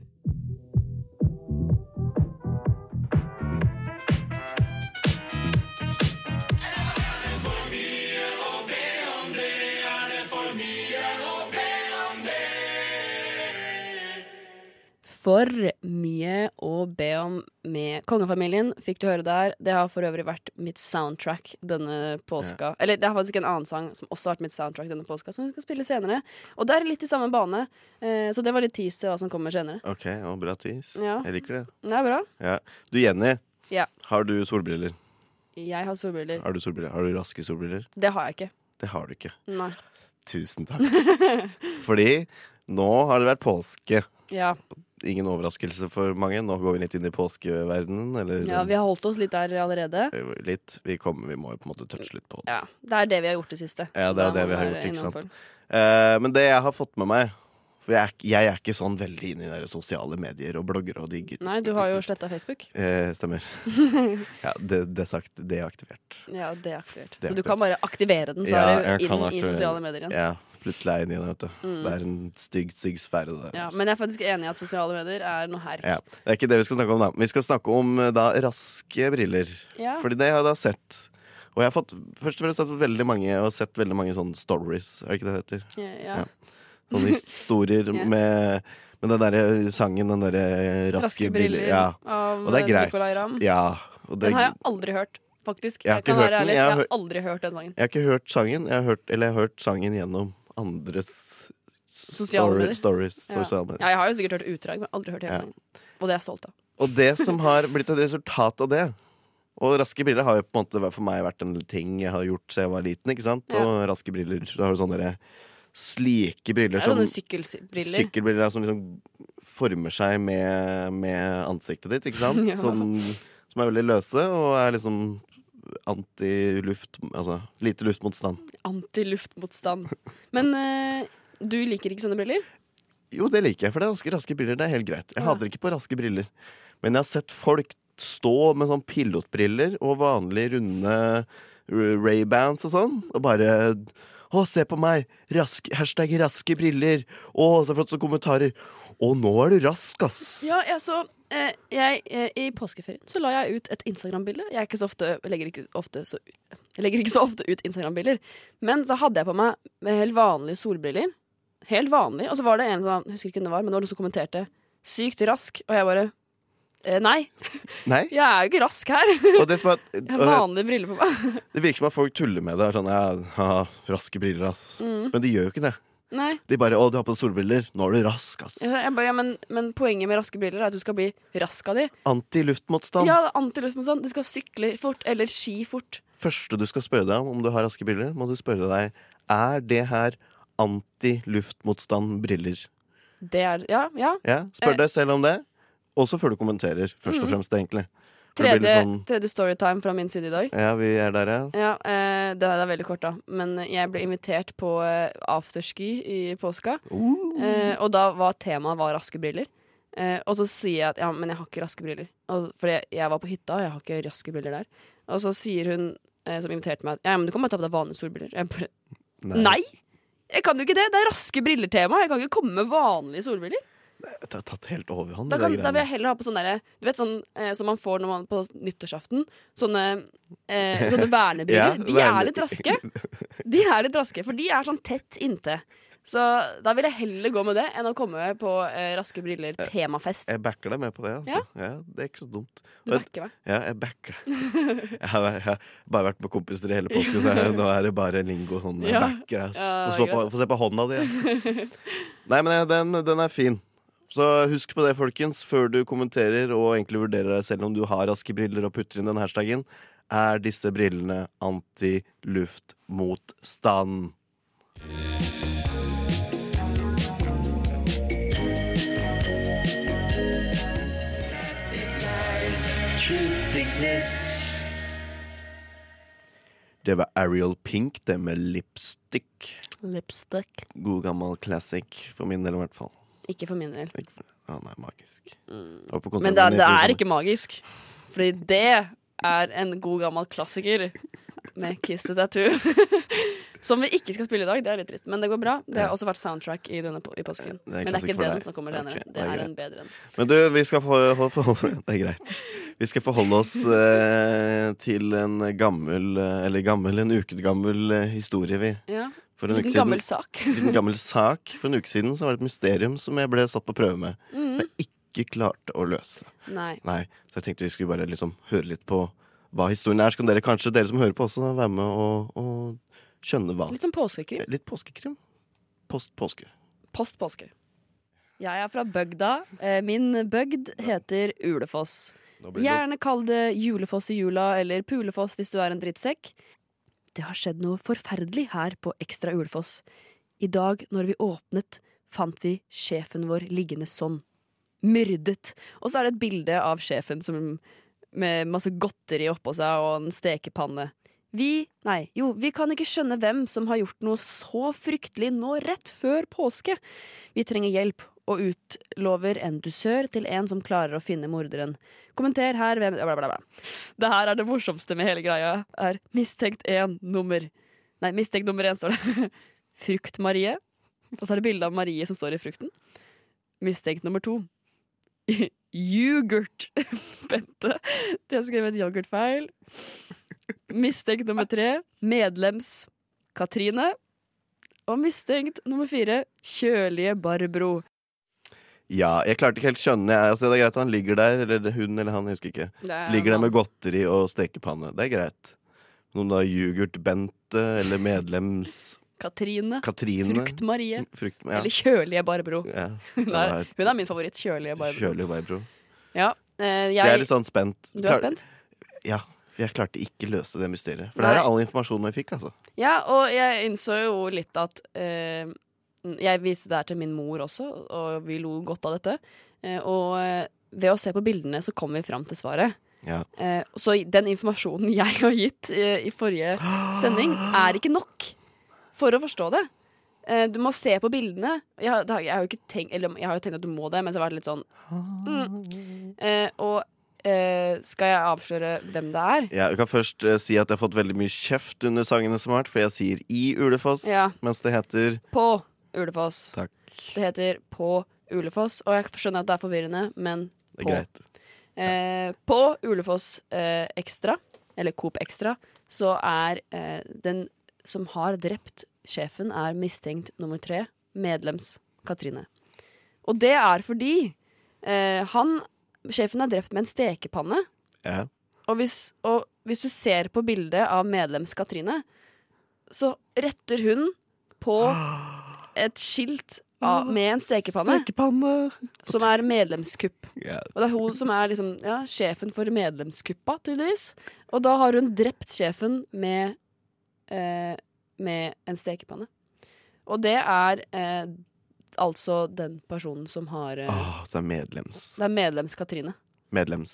[SPEAKER 7] For mye å be om med kongefamilien, fikk du høre der. Det har for øvrig vært mitt soundtrack denne påska. Eller det er faktisk en annen sang som også har vært mitt soundtrack denne påska, som vi skal spille senere. Og det er litt i samme bane, eh, så det var litt tease til hva som kommer senere.
[SPEAKER 3] Ok, og bra tis.
[SPEAKER 7] Ja.
[SPEAKER 3] Jeg liker det.
[SPEAKER 7] Det er bra.
[SPEAKER 3] Ja. Du, Jenny.
[SPEAKER 7] Ja.
[SPEAKER 3] Har du solbriller?
[SPEAKER 7] Jeg har solbriller.
[SPEAKER 3] Har du solbriller? Har du raske solbriller?
[SPEAKER 7] Det har jeg ikke.
[SPEAKER 3] Det har du ikke.
[SPEAKER 7] Nei.
[SPEAKER 3] Tusen takk. Fordi nå har det vært påske.
[SPEAKER 7] Ja,
[SPEAKER 3] Ingen overraskelse for mange. Nå går vi litt inn i påskeverdenen. Eller Eh,
[SPEAKER 7] ja vi har holdt oss litt der allerede.
[SPEAKER 3] litt. Vi, kommer, vi må jo på en måte touche litt på det.
[SPEAKER 7] Ja, Det er det vi har gjort det siste.
[SPEAKER 3] Ja,
[SPEAKER 7] så
[SPEAKER 3] det er
[SPEAKER 7] da
[SPEAKER 3] det
[SPEAKER 7] må
[SPEAKER 3] vi har
[SPEAKER 7] være
[SPEAKER 3] gjort, ikke sant?
[SPEAKER 7] innenfor.
[SPEAKER 3] Eh, men det jeg har fått med meg For jeg er, ikke- jeg er ikke sånn veldig inne i de sosiale medier og blogger og digger.
[SPEAKER 7] Nei, du har jo sletta Facebook.
[SPEAKER 3] Eh, stemmer. ja, det, det er sagt. Det er aktivert.
[SPEAKER 7] Ja, det er aktivert.
[SPEAKER 3] Det er
[SPEAKER 7] Men du kan bare aktivere den, så
[SPEAKER 3] Ja,
[SPEAKER 7] er
[SPEAKER 6] jeg
[SPEAKER 7] du
[SPEAKER 6] kan
[SPEAKER 7] inn i
[SPEAKER 6] aktivere
[SPEAKER 7] sosiale medier igjen.
[SPEAKER 3] Ja, plutselig er jeg inne i det, vet du. Det er en stygg, stygg sfære, det der.
[SPEAKER 7] Mm. Ja, men jeg er faktisk enig i at sosiale medier er noe herk.
[SPEAKER 3] Ja, Det er ikke det vi skal snakke om, da. Vi skal snakke om eh, da raske briller.
[SPEAKER 7] Ja.
[SPEAKER 3] Fordi det har jeg da sett. Og jeg har fått først og fremst har jeg fått veldig mange og sett veldig mange sånne stories. Er det ikke det det heter?
[SPEAKER 7] Ja, ja.
[SPEAKER 3] Ja. Sånne historier
[SPEAKER 7] Ja.
[SPEAKER 3] med, med den derre sangen, den derre raske,
[SPEAKER 7] Raske
[SPEAKER 3] briller.
[SPEAKER 7] briller
[SPEAKER 3] Ja.
[SPEAKER 7] av eh,
[SPEAKER 3] Og det er greit.
[SPEAKER 7] Nicolay Ramm.
[SPEAKER 3] Ja. Og det,
[SPEAKER 7] Den har jeg aldri hørt, faktisk.
[SPEAKER 3] Jeg har
[SPEAKER 7] Jeg, kan
[SPEAKER 3] ikke hørt
[SPEAKER 7] være
[SPEAKER 3] den.
[SPEAKER 7] ærlig,
[SPEAKER 3] Jeg har
[SPEAKER 7] jeg har
[SPEAKER 3] hørt-
[SPEAKER 7] aldri hørt den sangen.
[SPEAKER 3] jeg har ikke hørt sangen, jeg har hørt, eller jeg har hørt sangen gjennom andres
[SPEAKER 7] Sosiale medier.
[SPEAKER 3] stories.
[SPEAKER 7] Ja.
[SPEAKER 3] Sosiale medier.
[SPEAKER 7] Ja, jeg har jo sikkert hørt utdrag, men aldri hørt hele
[SPEAKER 3] Ja.
[SPEAKER 7] sangen. Og det er jeg stolt av.
[SPEAKER 3] Og det som har blitt et resultat av det Og raske briller har jo på en måte vært- for meg vært en ting jeg har gjort siden jeg var liten. ikke sant?
[SPEAKER 7] Ja.
[SPEAKER 3] Og raske briller da har du sånne der slike briller
[SPEAKER 7] Det er
[SPEAKER 3] som
[SPEAKER 7] sånne sykkelbriller.
[SPEAKER 3] sykkelbriller ja, som liksom former seg med, med ansiktet ditt, ikke sant?
[SPEAKER 7] Ja.
[SPEAKER 3] som, som er veldig løse og er liksom anti-luft Altså lite luftmotstand.
[SPEAKER 7] Antiluftmotstand. Men eh, du liker ikke sånne briller?
[SPEAKER 3] Jo, det liker jeg, for det er ganske raske briller. Det er helt greit. Jeg
[SPEAKER 7] Ja.
[SPEAKER 3] hater ikke på raske briller. Men jeg har sett folk stå med sånn pilotbriller og vanlige runde Ray-bands og sånn, og bare å, se på meg! Rask, hashtag raske briller! Å, så flott så kommentarer! Å, nå er du rask, ass!
[SPEAKER 7] Ja, jeg så eh, jeg, eh, I påskeferien så la jeg ut et Instagram-bilde. Jeg, er ikke så ofte, jeg legger, ikke ofte så, jeg legger ikke så ofte ut Instagram-bilder. Men så hadde jeg på meg med helt vanlige solbriller. Helt vanlig. Og så var det en som jeg husker ikke hvem det var, men det var noen som kommenterte 'sykt rask'. Og jeg bare eh, Nei,
[SPEAKER 3] Nei?
[SPEAKER 7] jeg er jo ikke rask her.
[SPEAKER 3] Og det som er
[SPEAKER 7] Jeg har
[SPEAKER 3] Eh.
[SPEAKER 7] vanlige briller på meg.
[SPEAKER 3] Det virker som at folk tuller med det. Er sånn, ja, haha, raske briller, ass.
[SPEAKER 7] Mm.
[SPEAKER 3] Men de gjør jo ikke det.
[SPEAKER 7] Nei.
[SPEAKER 3] De bare 'Å, du har på deg solbriller. Nå er du rask, ass'.
[SPEAKER 7] Jeg, jeg bare, ja, men, men poenget med raske briller er at du skal bli rask av de.
[SPEAKER 3] Sånn. Anti-luftmotstand.
[SPEAKER 7] Ja, det er antiluftmotstand. Du skal sykle fort, eller ski fort.
[SPEAKER 3] Første du skal spørre deg om om du har raske briller, må du spørre deg Er det her anti-luftmotstand-briller.
[SPEAKER 7] Det er Ja, ja.
[SPEAKER 3] Ja,
[SPEAKER 7] Eh.
[SPEAKER 3] Spør deg selv om det, også før du kommenterer. Først og fremst, egentlig. For det blir
[SPEAKER 7] Mm. Tredje,
[SPEAKER 3] litt sånn-
[SPEAKER 7] tredje storytime fra min side i dag.
[SPEAKER 3] Ja, vi er der, ja.
[SPEAKER 7] Ja, eh, Den er da veldig kort, da. Men jeg ble invitert på eh, afterski i påska.
[SPEAKER 3] Uh.
[SPEAKER 7] Eh, og da var temaet var raske briller. Eh, og så sier jeg at ja, men jeg har ikke raske briller. Og, fordi jeg, jeg var på hytta, og jeg har ikke raske briller der. Og så sier hun eh, som inviterte meg at ja, men du kan bare ta på deg vanlige solbriller. Jeg bare nei! Jeg kan jo ikke det! Det er raske briller-tema. Jeg kan ikke komme med vanlige solbriller.
[SPEAKER 3] Det har tatt helt overhånd.
[SPEAKER 7] Da,
[SPEAKER 3] de
[SPEAKER 7] kan,
[SPEAKER 3] der
[SPEAKER 7] da vil
[SPEAKER 3] greiene.
[SPEAKER 7] jeg heller ha på sånn derre Du vet sånn eh, som man får når man på nyttårsaften. Sånne, eh, sånne vernebriller.
[SPEAKER 3] Ja,
[SPEAKER 7] de
[SPEAKER 3] verne-
[SPEAKER 7] er litt raske. De er litt raske, for de er sånn tett inntil. Så da vil jeg heller gå med det enn å komme på eh, Raske briller-temafest.
[SPEAKER 3] Jeg backer deg med på det. altså. Ja, Det er ikke så dumt.
[SPEAKER 7] Du
[SPEAKER 3] Men-
[SPEAKER 7] backer meg.
[SPEAKER 3] Ja, jeg backer det. Jeg har, jeg har bare vært med kompiser i hele påsken, så jeg- nå er det bare lingo sånn. Jeg
[SPEAKER 7] Ja.
[SPEAKER 3] backer, ass.
[SPEAKER 7] Ja,
[SPEAKER 3] Få se på- Få se på hånda di. ass. Nei, men jeg- den, den er fin. Så husk på det, folkens, før du kommenterer og egentlig vurderer deg selv om du har raske briller og putter inn den hashtagen. Er disse brillene anti-luftmotstand? Det var Ariel Pink, det med lipstick.
[SPEAKER 7] Lipstick.
[SPEAKER 3] God gammel classic, for min del i hvert fall.
[SPEAKER 7] Ikke for min del.
[SPEAKER 3] Ikke for- Han er magisk. Jeg var på liksom. konsert
[SPEAKER 7] Mm. Men
[SPEAKER 3] med
[SPEAKER 7] det,
[SPEAKER 3] han i
[SPEAKER 7] det
[SPEAKER 3] fjor
[SPEAKER 7] er
[SPEAKER 3] sommer.
[SPEAKER 7] ikke magisk. Fordi det er en god gammel klassiker med Kiss the Tattoo. Som vi ikke skal spille i dag. Det er litt trist, men det går bra. Det har også vært soundtrack i, denne, po- i påsken.
[SPEAKER 3] er en
[SPEAKER 7] men det er
[SPEAKER 3] klassiker
[SPEAKER 7] ikke
[SPEAKER 3] for
[SPEAKER 7] den
[SPEAKER 3] deg.
[SPEAKER 7] som kommer
[SPEAKER 3] Ok,
[SPEAKER 7] senere.
[SPEAKER 3] det
[SPEAKER 7] det
[SPEAKER 3] er
[SPEAKER 7] er
[SPEAKER 3] greit.
[SPEAKER 7] en bedre en.
[SPEAKER 3] Men du, vi skal forholde, Det er greit. Vi skal forholde oss eh, til en gammel, eh, eller gammel, en uke gammel eh, historie, vi.
[SPEAKER 7] Ja.
[SPEAKER 3] For en
[SPEAKER 7] En
[SPEAKER 3] uke
[SPEAKER 7] gammel
[SPEAKER 3] siden.
[SPEAKER 7] sak.
[SPEAKER 3] En gammel sak. For en uke siden så var det et mysterium som jeg ble satt på prøve med.
[SPEAKER 7] Mhm.
[SPEAKER 3] Jeg ikke klarte å løse.
[SPEAKER 7] Nei.
[SPEAKER 3] Nei, så jeg tenkte vi skulle bare liksom høre litt på hva historien er. Så kan dere kanskje, dere som hører på også, være med og, og skjønne hva
[SPEAKER 7] Litt som påskekrim.
[SPEAKER 3] Litt påskekrim. Post påske.
[SPEAKER 7] Post påske. Jeg er fra bygda. Eh, Min bygd heter Ulefoss.
[SPEAKER 3] Da blir det
[SPEAKER 7] Gjerne kall det julefoss i jula eller pulefoss hvis du er en drittsekk. Det har skjedd noe forferdelig her på Ekstra Ulefoss. I dag, når vi åpnet, fant vi sjefen vår liggende sånn. Myrdet. Og så er det et bilde av sjefen som, med masse godteri oppå seg og en stekepanne. Vi Nei, jo, vi kan ikke skjønne hvem som har gjort noe så fryktelig nå rett før påske. Vi trenger hjelp, og utlover en dusør til en som klarer å finne morderen. Kommenter her hvem bla, bla, bla. Det her er det morsomste med hele greia. Er mistenkt én nummer Nei, mistenkt nummer én står det. Frukt-Marie. Og så er det bilde av Marie som står i frukten. Mistenkt nummer to. Yoghurt. Bente. De har skrevet yoghurtfeil. Mistenkt nummer tre. Medlems Katrine. Og mistenkt nummer fire. Kjølige Barbro.
[SPEAKER 3] Ja, jeg klarte ikke helt skjønne. Jeg, altså, det er greit at han ligger der, eller det- hun eller han, jeg husker ikke. Ligger der med godteri og stekepanne. Det er greit. Noen da yoghurt-Bente eller medlems
[SPEAKER 7] Katrine.
[SPEAKER 3] Katrine.
[SPEAKER 7] Frukt-Marie.
[SPEAKER 3] Frukt ja.
[SPEAKER 7] Eller Kjølige Barbro.
[SPEAKER 3] ja.
[SPEAKER 7] Hun er,
[SPEAKER 3] det
[SPEAKER 7] hun er min favoritt. Kjølige
[SPEAKER 3] var et-
[SPEAKER 7] Barbro.
[SPEAKER 3] Kjølig Barbro.
[SPEAKER 7] Ja, eh,
[SPEAKER 3] Så jeg er
[SPEAKER 7] jeg,
[SPEAKER 3] litt sånn spent.
[SPEAKER 7] du er spent?
[SPEAKER 3] Ja. For jeg klarte ikke løse det mysteriet. For
[SPEAKER 7] Nei.
[SPEAKER 3] det her er all informasjonen jeg fikk, altså.
[SPEAKER 7] Ja, og jeg innså jo litt at eh, Jeg viste det her til min mor også, og vi lo godt av dette. Eh, og eh, ved å se på bildene så kom vi fram til svaret.
[SPEAKER 3] Ja.
[SPEAKER 7] Eh, så den informasjonen jeg har gitt eh, i forrige sending, er ikke nok for å forstå det. Eh, du må se på bildene. Jeg, har- det har- jeg har jo ikke tenkt Eller jeg har jo tenkt at du må det, men så har jeg vært litt sånn mm. eh, Og eh, skal jeg avsløre hvem det er?
[SPEAKER 3] Ja, jeg kan først eh, si at jeg har fått veldig mye kjeft under sangene som har vært, for jeg sier i Ulefoss,
[SPEAKER 7] Ja.
[SPEAKER 3] mens det heter
[SPEAKER 7] På Ulefoss.
[SPEAKER 3] Takk.
[SPEAKER 7] Det heter På Ulefoss, og jeg skjønner at det er forvirrende, men
[SPEAKER 3] Det er
[SPEAKER 7] På.
[SPEAKER 3] greit.
[SPEAKER 7] eh, på Ulefoss eh, Ekstra, eller Coop Ekstra, så er eh, den som har drept sjefen, er mistenkt nummer tre, medlems Katrine. Og det er fordi eh, han Sjefen er drept med en stekepanne.
[SPEAKER 3] Ja.
[SPEAKER 7] Og hvis, og hvis du ser på bildet av medlems Katrine, så retter hun på et skilt av, med en stekepanne,
[SPEAKER 3] Stekepanne!
[SPEAKER 7] som er medlemskupp.
[SPEAKER 3] Ja.
[SPEAKER 7] Og det er hun som er liksom, ja, sjefen for medlemskuppa, tydeligvis. Og da har hun drept sjefen med, eh, med en stekepanne. Og det er eh, altså den personen som har eh,
[SPEAKER 3] Åh, så er medlems.
[SPEAKER 7] Det er medlems-Katrine.
[SPEAKER 3] Medlems.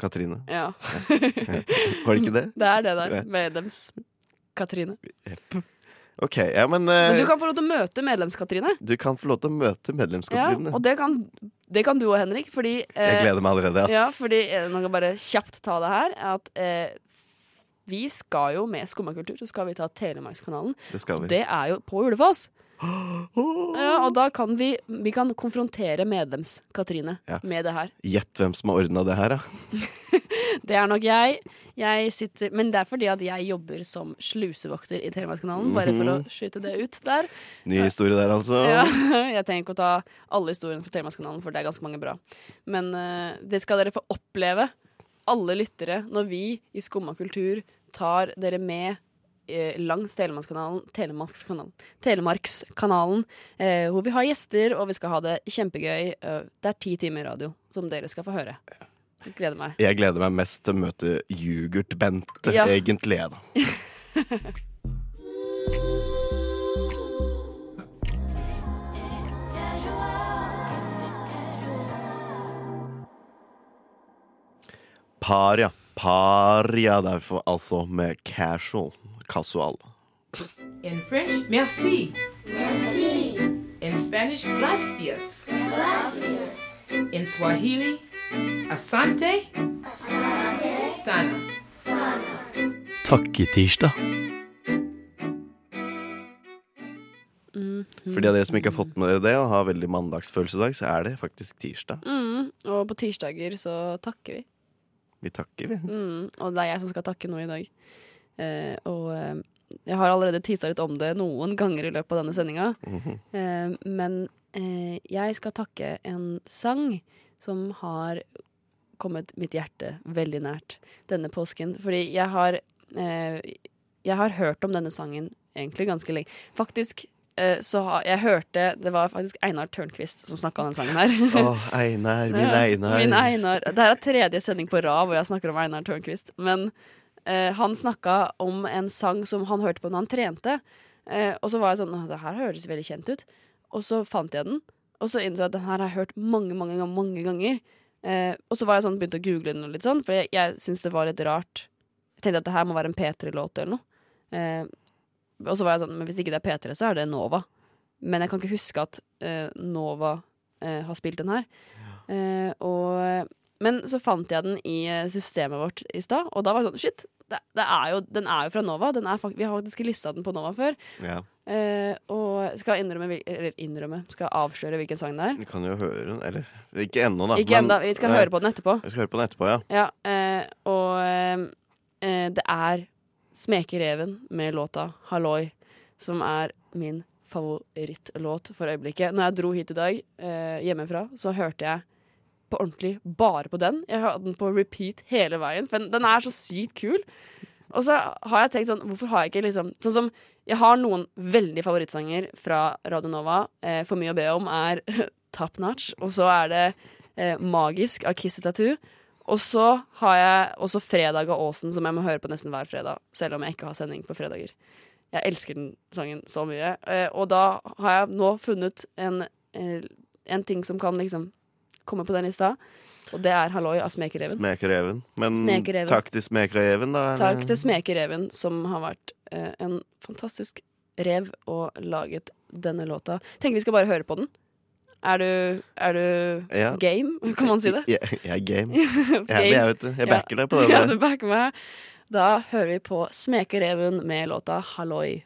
[SPEAKER 3] Katrine.
[SPEAKER 7] Ja.
[SPEAKER 3] Var det ikke det?
[SPEAKER 7] Det er det der.
[SPEAKER 3] Ja.
[SPEAKER 7] Medlems-Katrine.
[SPEAKER 3] Ok, ja, men, eh,
[SPEAKER 7] Men du kan få lov til å møte medlems-Katrine.
[SPEAKER 3] få lov til å møte
[SPEAKER 7] Ja,
[SPEAKER 3] medlems-Katrine.
[SPEAKER 7] og det kan, det kan du òg, Henrik. Fordi, eh,
[SPEAKER 3] jeg gleder meg allerede. ass.
[SPEAKER 7] Ja, fordi eh, Nå kan jeg bare kjapt ta det her. At eh, vi skal jo med Skummakultur, så skal vi ta Telemarkskanalen.
[SPEAKER 3] det skal vi.
[SPEAKER 7] Det er jo på Ulefoss. Ja, og da kan vi Vi kan konfrontere medlems-Katrine
[SPEAKER 3] Ja.
[SPEAKER 7] med det her.
[SPEAKER 3] Gjett hvem som har ordna det her, da.
[SPEAKER 7] Det er nok jeg. jeg sitter, men det er fordi at jeg jobber som slusevokter i Telemarkskanalen. Bare for
[SPEAKER 3] Mhm.
[SPEAKER 7] å skyte det ut der.
[SPEAKER 3] Ny historie der, altså.
[SPEAKER 7] Ja, jeg trenger ikke å ta alle historiene fra Telemarkskanalen, for det er ganske mange bra. Men eh, det skal dere få oppleve, alle lyttere, når vi i Skumma kultur tar dere med eh, langs Telemarkskanalen Telemarkskanalen Telemarkskanalen, eh, hvor vi har gjester, og vi skal ha det kjempegøy. Eh, det er ti timer radio som dere skal få høre. Jeg gleder meg.
[SPEAKER 3] Jeg gleder meg mest til å møte Yoghurt-Bente,
[SPEAKER 7] Ja.
[SPEAKER 3] egentlig. jeg, Da. Paria. Paria derfor, altså med casual. Casual.
[SPEAKER 9] In French, merci. Merci. In Spanish, gracias. Gracias. In Swahili, asante. Asante. Sana.
[SPEAKER 10] Takketirsdag.
[SPEAKER 7] Mm.
[SPEAKER 3] For de av dere som ikke har fått med dere det, og har veldig mandagsfølelse i dag, så er det faktisk tirsdag.
[SPEAKER 7] Mm. Og på tirsdager så takker vi.
[SPEAKER 3] Vi takker, vi.
[SPEAKER 7] Mm. Og det er jeg som skal takke nå i dag. Eh, og eh, jeg har allerede tisa litt om det noen ganger i løpet av denne sendinga.
[SPEAKER 3] Mhm.
[SPEAKER 7] Eh, men eh, jeg skal takke en sang som har kommet mitt hjerte veldig nært denne påsken. Fordi jeg har, eh, jeg har hørt om denne sangen egentlig ganske lenge. Faktisk eh, så har jeg hørte Det var faktisk Einar Tørnquist som snakka om den sangen her.
[SPEAKER 3] Å, Einar, min
[SPEAKER 7] Ja,
[SPEAKER 3] Einar.
[SPEAKER 7] Min Einar. Det her er tredje sending på rad hvor jeg snakker om Einar Tørnquist. Men eh, han snakka om en sang som han hørte på når han trente. Eh, og så var jeg sånn «Åh, Det her høres veldig kjent ut. Og så fant jeg den, og så innså jeg at den her har jeg hørt mange, mange, gang- mange ganger. Eh, og så var jeg sånn, begynte å google den, og litt sånn, for jeg, jeg syntes det var litt rart. Jeg tenkte at det her må være en P3-låt eller noe. Eh, og så var jeg sånn, men hvis ikke det er P3, så er det Nova. Men jeg kan ikke huske at eh, Nova eh, har spilt den her. Eh, og, men så fant jeg den i eh, systemet vårt i stad, og da var jeg sånn Shit, det, det er jo, den er jo fra Nova. Den er fakt vi har faktisk lista den på Nova før.
[SPEAKER 3] Ja.
[SPEAKER 7] Eh, og skal innrømme, hvil- eller innrømme Skal avsløre hvilken sang det er.
[SPEAKER 3] Du kan jo høre den, eller Ikke ennå, da.
[SPEAKER 7] Ikke ennå, vi skal høre på den etterpå.
[SPEAKER 3] Vi skal høre på den etterpå, ja.
[SPEAKER 7] Ja, eh, og eh, det er Smekereven med låta 'Halloi', som er min favorittlåt for øyeblikket. Når jeg dro hit i dag eh, hjemmefra, så hørte jeg på ordentlig bare på den. Jeg hørte den på repeat hele veien, for den- den er så sykt kul. Og så har jeg tenkt sånn Hvorfor har jeg ikke liksom Sånn som Jeg har noen veldig favorittsanger fra Radio Nova. Eh, for mye å be om er Top Notch, og så er det eh, Magisk av Kiss Tattoo. Og så har jeg også Fredag av Åsen, som jeg må høre på nesten hver fredag. Selv om jeg ikke har sending på fredager. Jeg elsker den sangen så mye. Eh, og da har jeg nå funnet en, eh, en ting som kan liksom komme på den lista, og det er Halloi av Smekereven.
[SPEAKER 3] Smekereven. Men
[SPEAKER 7] Smekereven.
[SPEAKER 3] takk til Smekereven, da. eller?
[SPEAKER 7] Takk til Smekereven, som har vært eh, en fantastisk rev og laget denne låta. Tenker vi skal bare høre på den. Er du, er du
[SPEAKER 3] Ja.
[SPEAKER 7] game? Kan man si det?
[SPEAKER 3] Jeg, jeg er game. Jeg, er med,
[SPEAKER 7] Game.
[SPEAKER 3] jeg, vet du. jeg backer deg på det.
[SPEAKER 7] Ja,
[SPEAKER 3] der.
[SPEAKER 7] du backer meg. Da hører vi på Smekereven med låta 'Halloi'.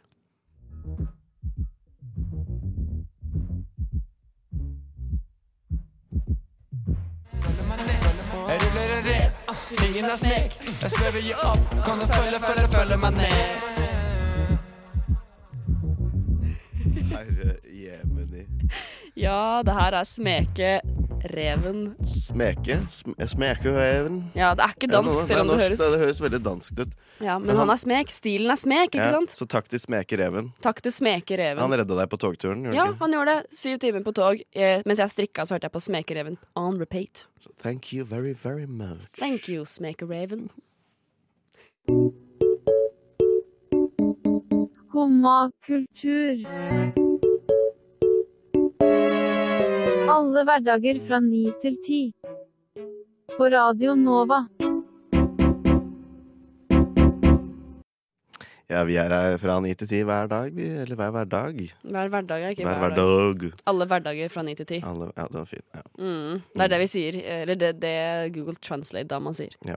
[SPEAKER 11] Jeg ruller en rev, ingen er snek. Jeg svever i opp, kan du følge, følge, følge meg ned?
[SPEAKER 3] Herre jemeni.
[SPEAKER 7] Ja, det her er Smekereven.
[SPEAKER 3] Smeke? Sm smekereven?
[SPEAKER 7] Ja, det er ikke dansk,
[SPEAKER 3] noe-
[SPEAKER 7] selv om
[SPEAKER 3] nei,
[SPEAKER 7] det
[SPEAKER 3] norsk,
[SPEAKER 7] høres-
[SPEAKER 3] Det høres veldig danskt ut.
[SPEAKER 7] Ja, men han er smek. Stilen er smek, ikke
[SPEAKER 3] Ja,
[SPEAKER 7] sant?
[SPEAKER 3] Så takk til Smekereven.
[SPEAKER 7] Takk til Smekereven.
[SPEAKER 3] Han redda deg på togturen, gjorde
[SPEAKER 7] Ja,
[SPEAKER 3] han ikke?
[SPEAKER 7] han gjorde det. Syv timer på tog. Eh, mens jeg strikka, så hørte jeg på Smekereven on repeat.
[SPEAKER 3] Thank you very, very much.
[SPEAKER 7] Thank you, Smekereven.
[SPEAKER 12] Skumma kultur. Alle hverdager fra ni til ti. På Radio Nova.
[SPEAKER 3] Ja, vi er her fra ni til ti hver dag, vi. Eller hver hverdag.
[SPEAKER 7] Hver hverdag er ikke
[SPEAKER 3] Hver
[SPEAKER 7] hver,
[SPEAKER 3] hverdag.
[SPEAKER 7] Alle hverdager fra ni til ti.
[SPEAKER 3] Alle, ja, den var fin. Ja.
[SPEAKER 7] Mm, det er det vi sier. Eller det, det Google Translate-dama sier.
[SPEAKER 3] Ja.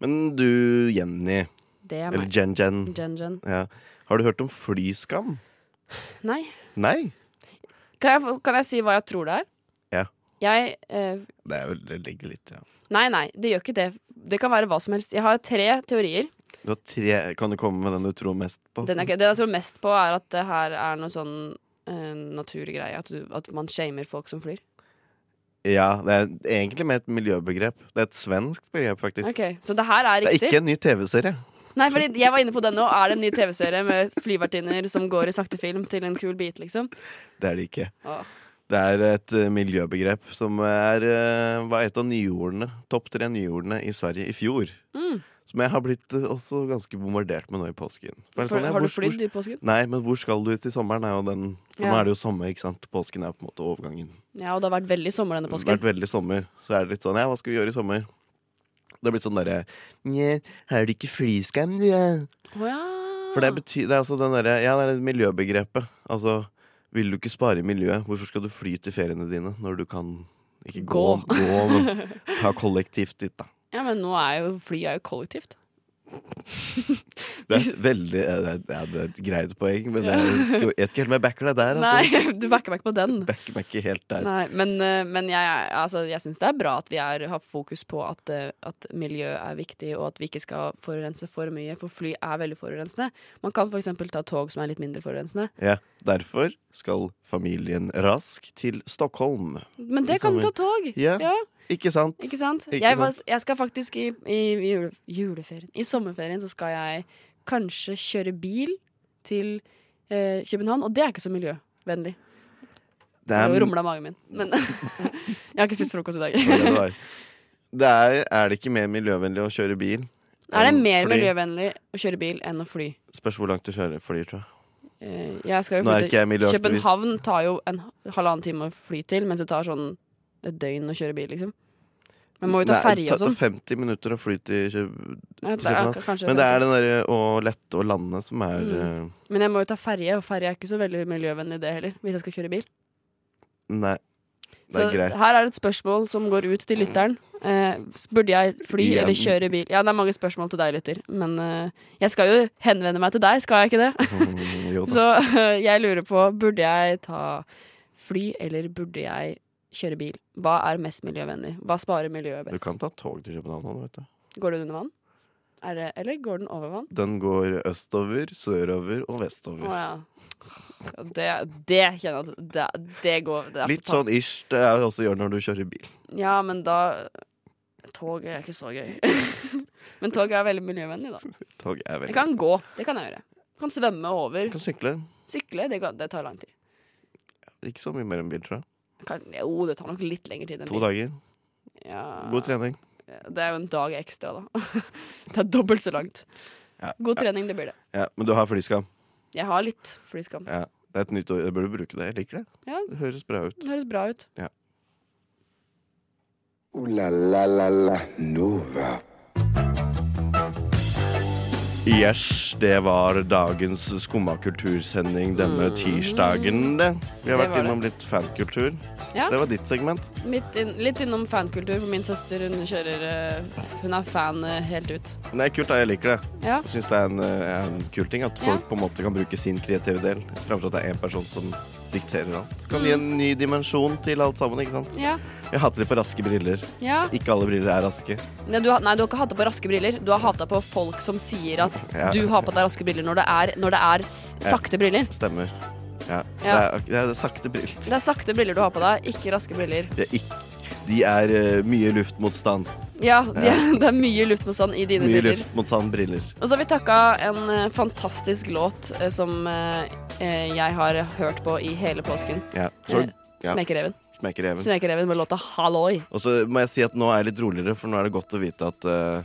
[SPEAKER 3] Men du, Jenny.
[SPEAKER 7] Det er
[SPEAKER 3] eller
[SPEAKER 7] meg.
[SPEAKER 3] Jen-Jen.
[SPEAKER 7] Jen-Jen.
[SPEAKER 3] Ja. Har du hørt om flyskam?
[SPEAKER 7] Nei.
[SPEAKER 3] Nei?
[SPEAKER 7] Kan jeg, få- kan jeg si hva jeg tror det er?
[SPEAKER 3] Ja.
[SPEAKER 7] Jeg eh,
[SPEAKER 3] Det, er, vel- det ligger litt, ja.
[SPEAKER 7] Nei, nei, det gjør ikke det. Det kan være hva som helst. Jeg har tre teorier.
[SPEAKER 3] Du har tre, kan du komme med den du tror mest på?
[SPEAKER 7] Den, er, ikke- den jeg tror mest på, er at det her er noe sånn eh, naturgreie. At, du, at man shamer folk som flyr.
[SPEAKER 3] Ja, det er egentlig med et miljøbegrep. Det er et svensk begrep, faktisk.
[SPEAKER 7] Ok, Så det her er
[SPEAKER 3] Det er
[SPEAKER 7] riktig?
[SPEAKER 3] ikke en ny TV-serie.
[SPEAKER 7] Nei, fordi jeg var inne på den nå. Er det en ny TV-serie med flyvertinner som går i sakte film til en kul bit, liksom?
[SPEAKER 3] Det er det ikke.
[SPEAKER 7] Åh.
[SPEAKER 3] Det er et eh, miljøbegrep som er, eh, var et av nyordene, topp tre nyordene i Sverige i fjor.
[SPEAKER 7] Mm.
[SPEAKER 3] Som jeg har blitt eh, også ganske bombardert med nå i påsken. For det er
[SPEAKER 7] For-
[SPEAKER 3] sånn, ja,
[SPEAKER 7] har du
[SPEAKER 3] hvor- hvor-
[SPEAKER 7] flydd i påsken?
[SPEAKER 3] Nei, men hvor skal du til sommeren? Er jo den, for Nå
[SPEAKER 7] Ja.
[SPEAKER 3] er det jo sommer, ikke sant? Påsken er på en måte overgangen.
[SPEAKER 7] Ja, og det har vært veldig sommer denne
[SPEAKER 3] Det har
[SPEAKER 7] påsken.
[SPEAKER 3] vært veldig sommer. Så er det litt sånn Ja, hva skal vi gjøre i sommer? Det har blitt sånn derre Nja, har du ikke flyskam, du? ja?»
[SPEAKER 7] Å ja.
[SPEAKER 3] For det, betyr, det er altså den derre Ja, det er det miljøbegrepet. Altså, vil du ikke spare i miljøet, hvorfor skal du fly til feriene dine når du kan ikke gå,
[SPEAKER 7] Gå.
[SPEAKER 3] gå men ta kollektivt dit, da?
[SPEAKER 7] ja, men nå er jo fly er jo kollektivt.
[SPEAKER 3] Det er et veldig eh, det er, ja, det er et greit poeng, men jeg jeg vet ikke helt om jeg backer deg der. Altså.
[SPEAKER 7] Nei, du backer meg ikke på den.
[SPEAKER 3] Backer meg ikke helt der.
[SPEAKER 7] Nei, men, eh, men jeg, er- altså, jeg syns det er bra at vi er, har fokus på at, eh, at miljø er viktig, og at vi ikke skal forurense for mye, for fly er veldig forurensende. Man kan f.eks. ta tog som er litt mindre forurensende.
[SPEAKER 3] Ja, derfor skal familien Rask til Stockholm.
[SPEAKER 7] Men det
[SPEAKER 3] i
[SPEAKER 7] kan ta
[SPEAKER 3] sommer.
[SPEAKER 7] tog.
[SPEAKER 3] Ja. Ikke sant?
[SPEAKER 7] Ikke sant?
[SPEAKER 3] Ikke
[SPEAKER 7] jeg, var,
[SPEAKER 3] sant?
[SPEAKER 7] jeg skal faktisk i, i jule, juleferien I sommerferien så skal jeg kanskje kjøre bil til eh, København, og det er ikke så miljøvennlig.
[SPEAKER 3] Det
[SPEAKER 7] Nå
[SPEAKER 3] er-
[SPEAKER 7] rumla magen min, men jeg har ikke spist frokost i dag.
[SPEAKER 3] Det var det det var. Det er, er det ikke mer miljøvennlig å kjøre bil?
[SPEAKER 7] er det
[SPEAKER 3] enn
[SPEAKER 7] mer
[SPEAKER 3] fly?
[SPEAKER 7] miljøvennlig å kjøre bil enn å fly?
[SPEAKER 3] Spørs hvor langt du kjører flyr, tror jeg.
[SPEAKER 7] Eh, jeg skal jo
[SPEAKER 3] Nå er
[SPEAKER 7] fly
[SPEAKER 3] ikke jeg
[SPEAKER 7] til
[SPEAKER 3] miljøaktivist.
[SPEAKER 7] København tar jo en halvannen time å fly til, mens det tar sånn et døgn å kjøre bil, liksom. Man må jo ta
[SPEAKER 3] Nei,
[SPEAKER 7] ferje
[SPEAKER 3] ta-
[SPEAKER 7] og sånn.
[SPEAKER 3] Ta 50 minutter å fly til Køb-
[SPEAKER 7] Ja,
[SPEAKER 3] til
[SPEAKER 7] det er
[SPEAKER 3] København.
[SPEAKER 7] ak- kanskje
[SPEAKER 3] Men det er
[SPEAKER 7] 50.
[SPEAKER 3] den derre å lette og lande som er
[SPEAKER 7] Mm.
[SPEAKER 3] eh,
[SPEAKER 7] Men jeg må jo ta ferje, og ferje er ikke så veldig miljøvennlig det heller, hvis jeg skal kjøre bil.
[SPEAKER 3] Nei. Det
[SPEAKER 7] Så
[SPEAKER 3] er greit.
[SPEAKER 7] her er et spørsmål som går ut til lytteren. Eh, s- burde jeg fly
[SPEAKER 3] Igjen.
[SPEAKER 7] eller kjøre bil? Ja, det er mange spørsmål til deg, lytter. Men eh, jeg skal jo henvende meg til deg, skal jeg ikke det?
[SPEAKER 3] Mm, jo da.
[SPEAKER 7] Så eh, jeg lurer på, burde jeg ta fly eller burde jeg kjøre bil? Hva er mest miljøvennlig? Hva sparer miljøet
[SPEAKER 3] Du
[SPEAKER 7] best?
[SPEAKER 3] kan ta tog til København nå, vet du.
[SPEAKER 7] Går den under vann? Er det, eller går den over vann?
[SPEAKER 3] Den går østover, sørover og vestover.
[SPEAKER 7] Å ja. Ja, Det, det kjenner jeg at det, det går det er
[SPEAKER 3] Litt
[SPEAKER 7] for tapt.
[SPEAKER 3] sånn ish det er også gjør når du kjører bil.
[SPEAKER 7] Ja, men da Tog er ikke så gøy. men tog er veldig miljøvennlig, da.
[SPEAKER 3] Tog er veldig
[SPEAKER 7] Jeg kan gå. Det kan jeg gjøre. Jeg kan svømme over.
[SPEAKER 3] Du kan sykle.
[SPEAKER 7] Sykle, det, kan, det tar lang tid.
[SPEAKER 3] Ikke så mye mer enn bil, tror jeg.
[SPEAKER 7] Jeg Kan, jo, det tar nok litt lengre tid enn
[SPEAKER 3] To
[SPEAKER 7] bil.
[SPEAKER 3] dager.
[SPEAKER 7] Ja,
[SPEAKER 3] God trening.
[SPEAKER 7] det er jo en dag ekstra, da. det er dobbelt så langt.
[SPEAKER 3] Ja.
[SPEAKER 7] God trening, det blir det.
[SPEAKER 3] Ja, men du har flyskam.
[SPEAKER 7] Jeg har litt flyskam.
[SPEAKER 3] Ja. Det er et nytt ord. Jeg burde bruke det. Jeg liker det.
[SPEAKER 7] Ja,
[SPEAKER 3] Det høres bra ut.
[SPEAKER 7] det høres bra ut.
[SPEAKER 3] Ja.
[SPEAKER 2] Ooh-la-la-la-la Nova.
[SPEAKER 3] Yes, det var dagens Skumma kultursending denne tirsdagen. det. Vi har
[SPEAKER 7] Det
[SPEAKER 3] vært
[SPEAKER 7] var det.
[SPEAKER 3] innom litt fankultur.
[SPEAKER 7] Ja.
[SPEAKER 3] Det var ditt segment.
[SPEAKER 7] Mitt inn- litt innom fankultur, for min søster hun kjører eh, Hun er fan eh, helt ut.
[SPEAKER 3] Men det er kult, da. Jeg liker det.
[SPEAKER 7] Ja.
[SPEAKER 3] Jeg syns det er en, eh, er en kul ting at folk på en måte kan bruke sin kreative del, fremfor at det er én person som dikterer alt. Kan
[SPEAKER 7] Mm.
[SPEAKER 3] gi en ny dimensjon til alt sammen, ikke sant?
[SPEAKER 7] Ja.
[SPEAKER 3] Jeg hater litt på raske briller.
[SPEAKER 7] Ja.
[SPEAKER 3] Ikke alle briller er raske.
[SPEAKER 7] Nei, du, har- nei, du har ikke hata på raske briller. Du har hata på folk som sier at
[SPEAKER 3] Ja.
[SPEAKER 7] du har på deg raske briller når det er, når det er s- sakte briller.
[SPEAKER 3] Stemmer. Ja.
[SPEAKER 7] Ja.
[SPEAKER 3] Det, er, det er sakte briller.
[SPEAKER 7] Det er sakte briller du har på deg, ikke raske briller.
[SPEAKER 3] Det er ikke, de er eh, mye luftmotstand.
[SPEAKER 7] Ja, de,
[SPEAKER 3] Ja.
[SPEAKER 7] det er mye luftmotstand i dine
[SPEAKER 3] Mye
[SPEAKER 7] briller.
[SPEAKER 3] luftmotstand briller.
[SPEAKER 7] Og så har vi takka en eh, fantastisk låt eh, som eh, eh, jeg har hørt på i hele påsken.
[SPEAKER 3] Ja. Så-
[SPEAKER 7] Eh,
[SPEAKER 3] ja. Mm.
[SPEAKER 7] Smekereven.
[SPEAKER 3] Smekereven.
[SPEAKER 7] Smekereven med låta 'Halloi'.
[SPEAKER 3] Og så må jeg si at nå er jeg litt roligere, for nå er det godt å vite at, eh,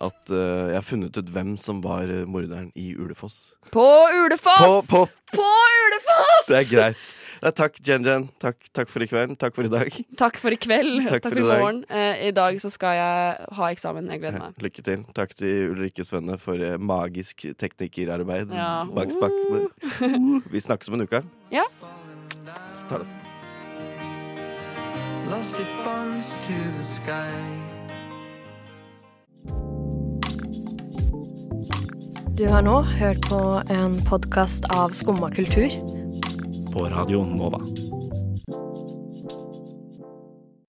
[SPEAKER 3] at eh, jeg har funnet ut hvem som var eh, morderen i Ulefoss.
[SPEAKER 7] På Ulefoss!
[SPEAKER 3] På- på-
[SPEAKER 7] Ulefoss!
[SPEAKER 3] Det er greit. Ja, takk, Jen-Jen. Takk, takk for i kveld. Takk for i dag.
[SPEAKER 7] Takk for i kveld.
[SPEAKER 3] Takk
[SPEAKER 7] Takk,
[SPEAKER 3] for
[SPEAKER 7] for i
[SPEAKER 3] i dag.
[SPEAKER 7] morgen. Eh, I dag så skal jeg ha eksamen. Jeg gleder meg.
[SPEAKER 3] Lykke til. Takk til Ulrikke Svenne for eh, magisk teknikerarbeid
[SPEAKER 7] Ja. Uh.
[SPEAKER 3] bak spakene. Vi snakkes om en uke.
[SPEAKER 7] Ja.
[SPEAKER 3] Så tar det oss.
[SPEAKER 11] Lost it bombs to the sky.
[SPEAKER 10] Du har nå hørt på en podkast av Skumma kultur.
[SPEAKER 13] På radioen Nova.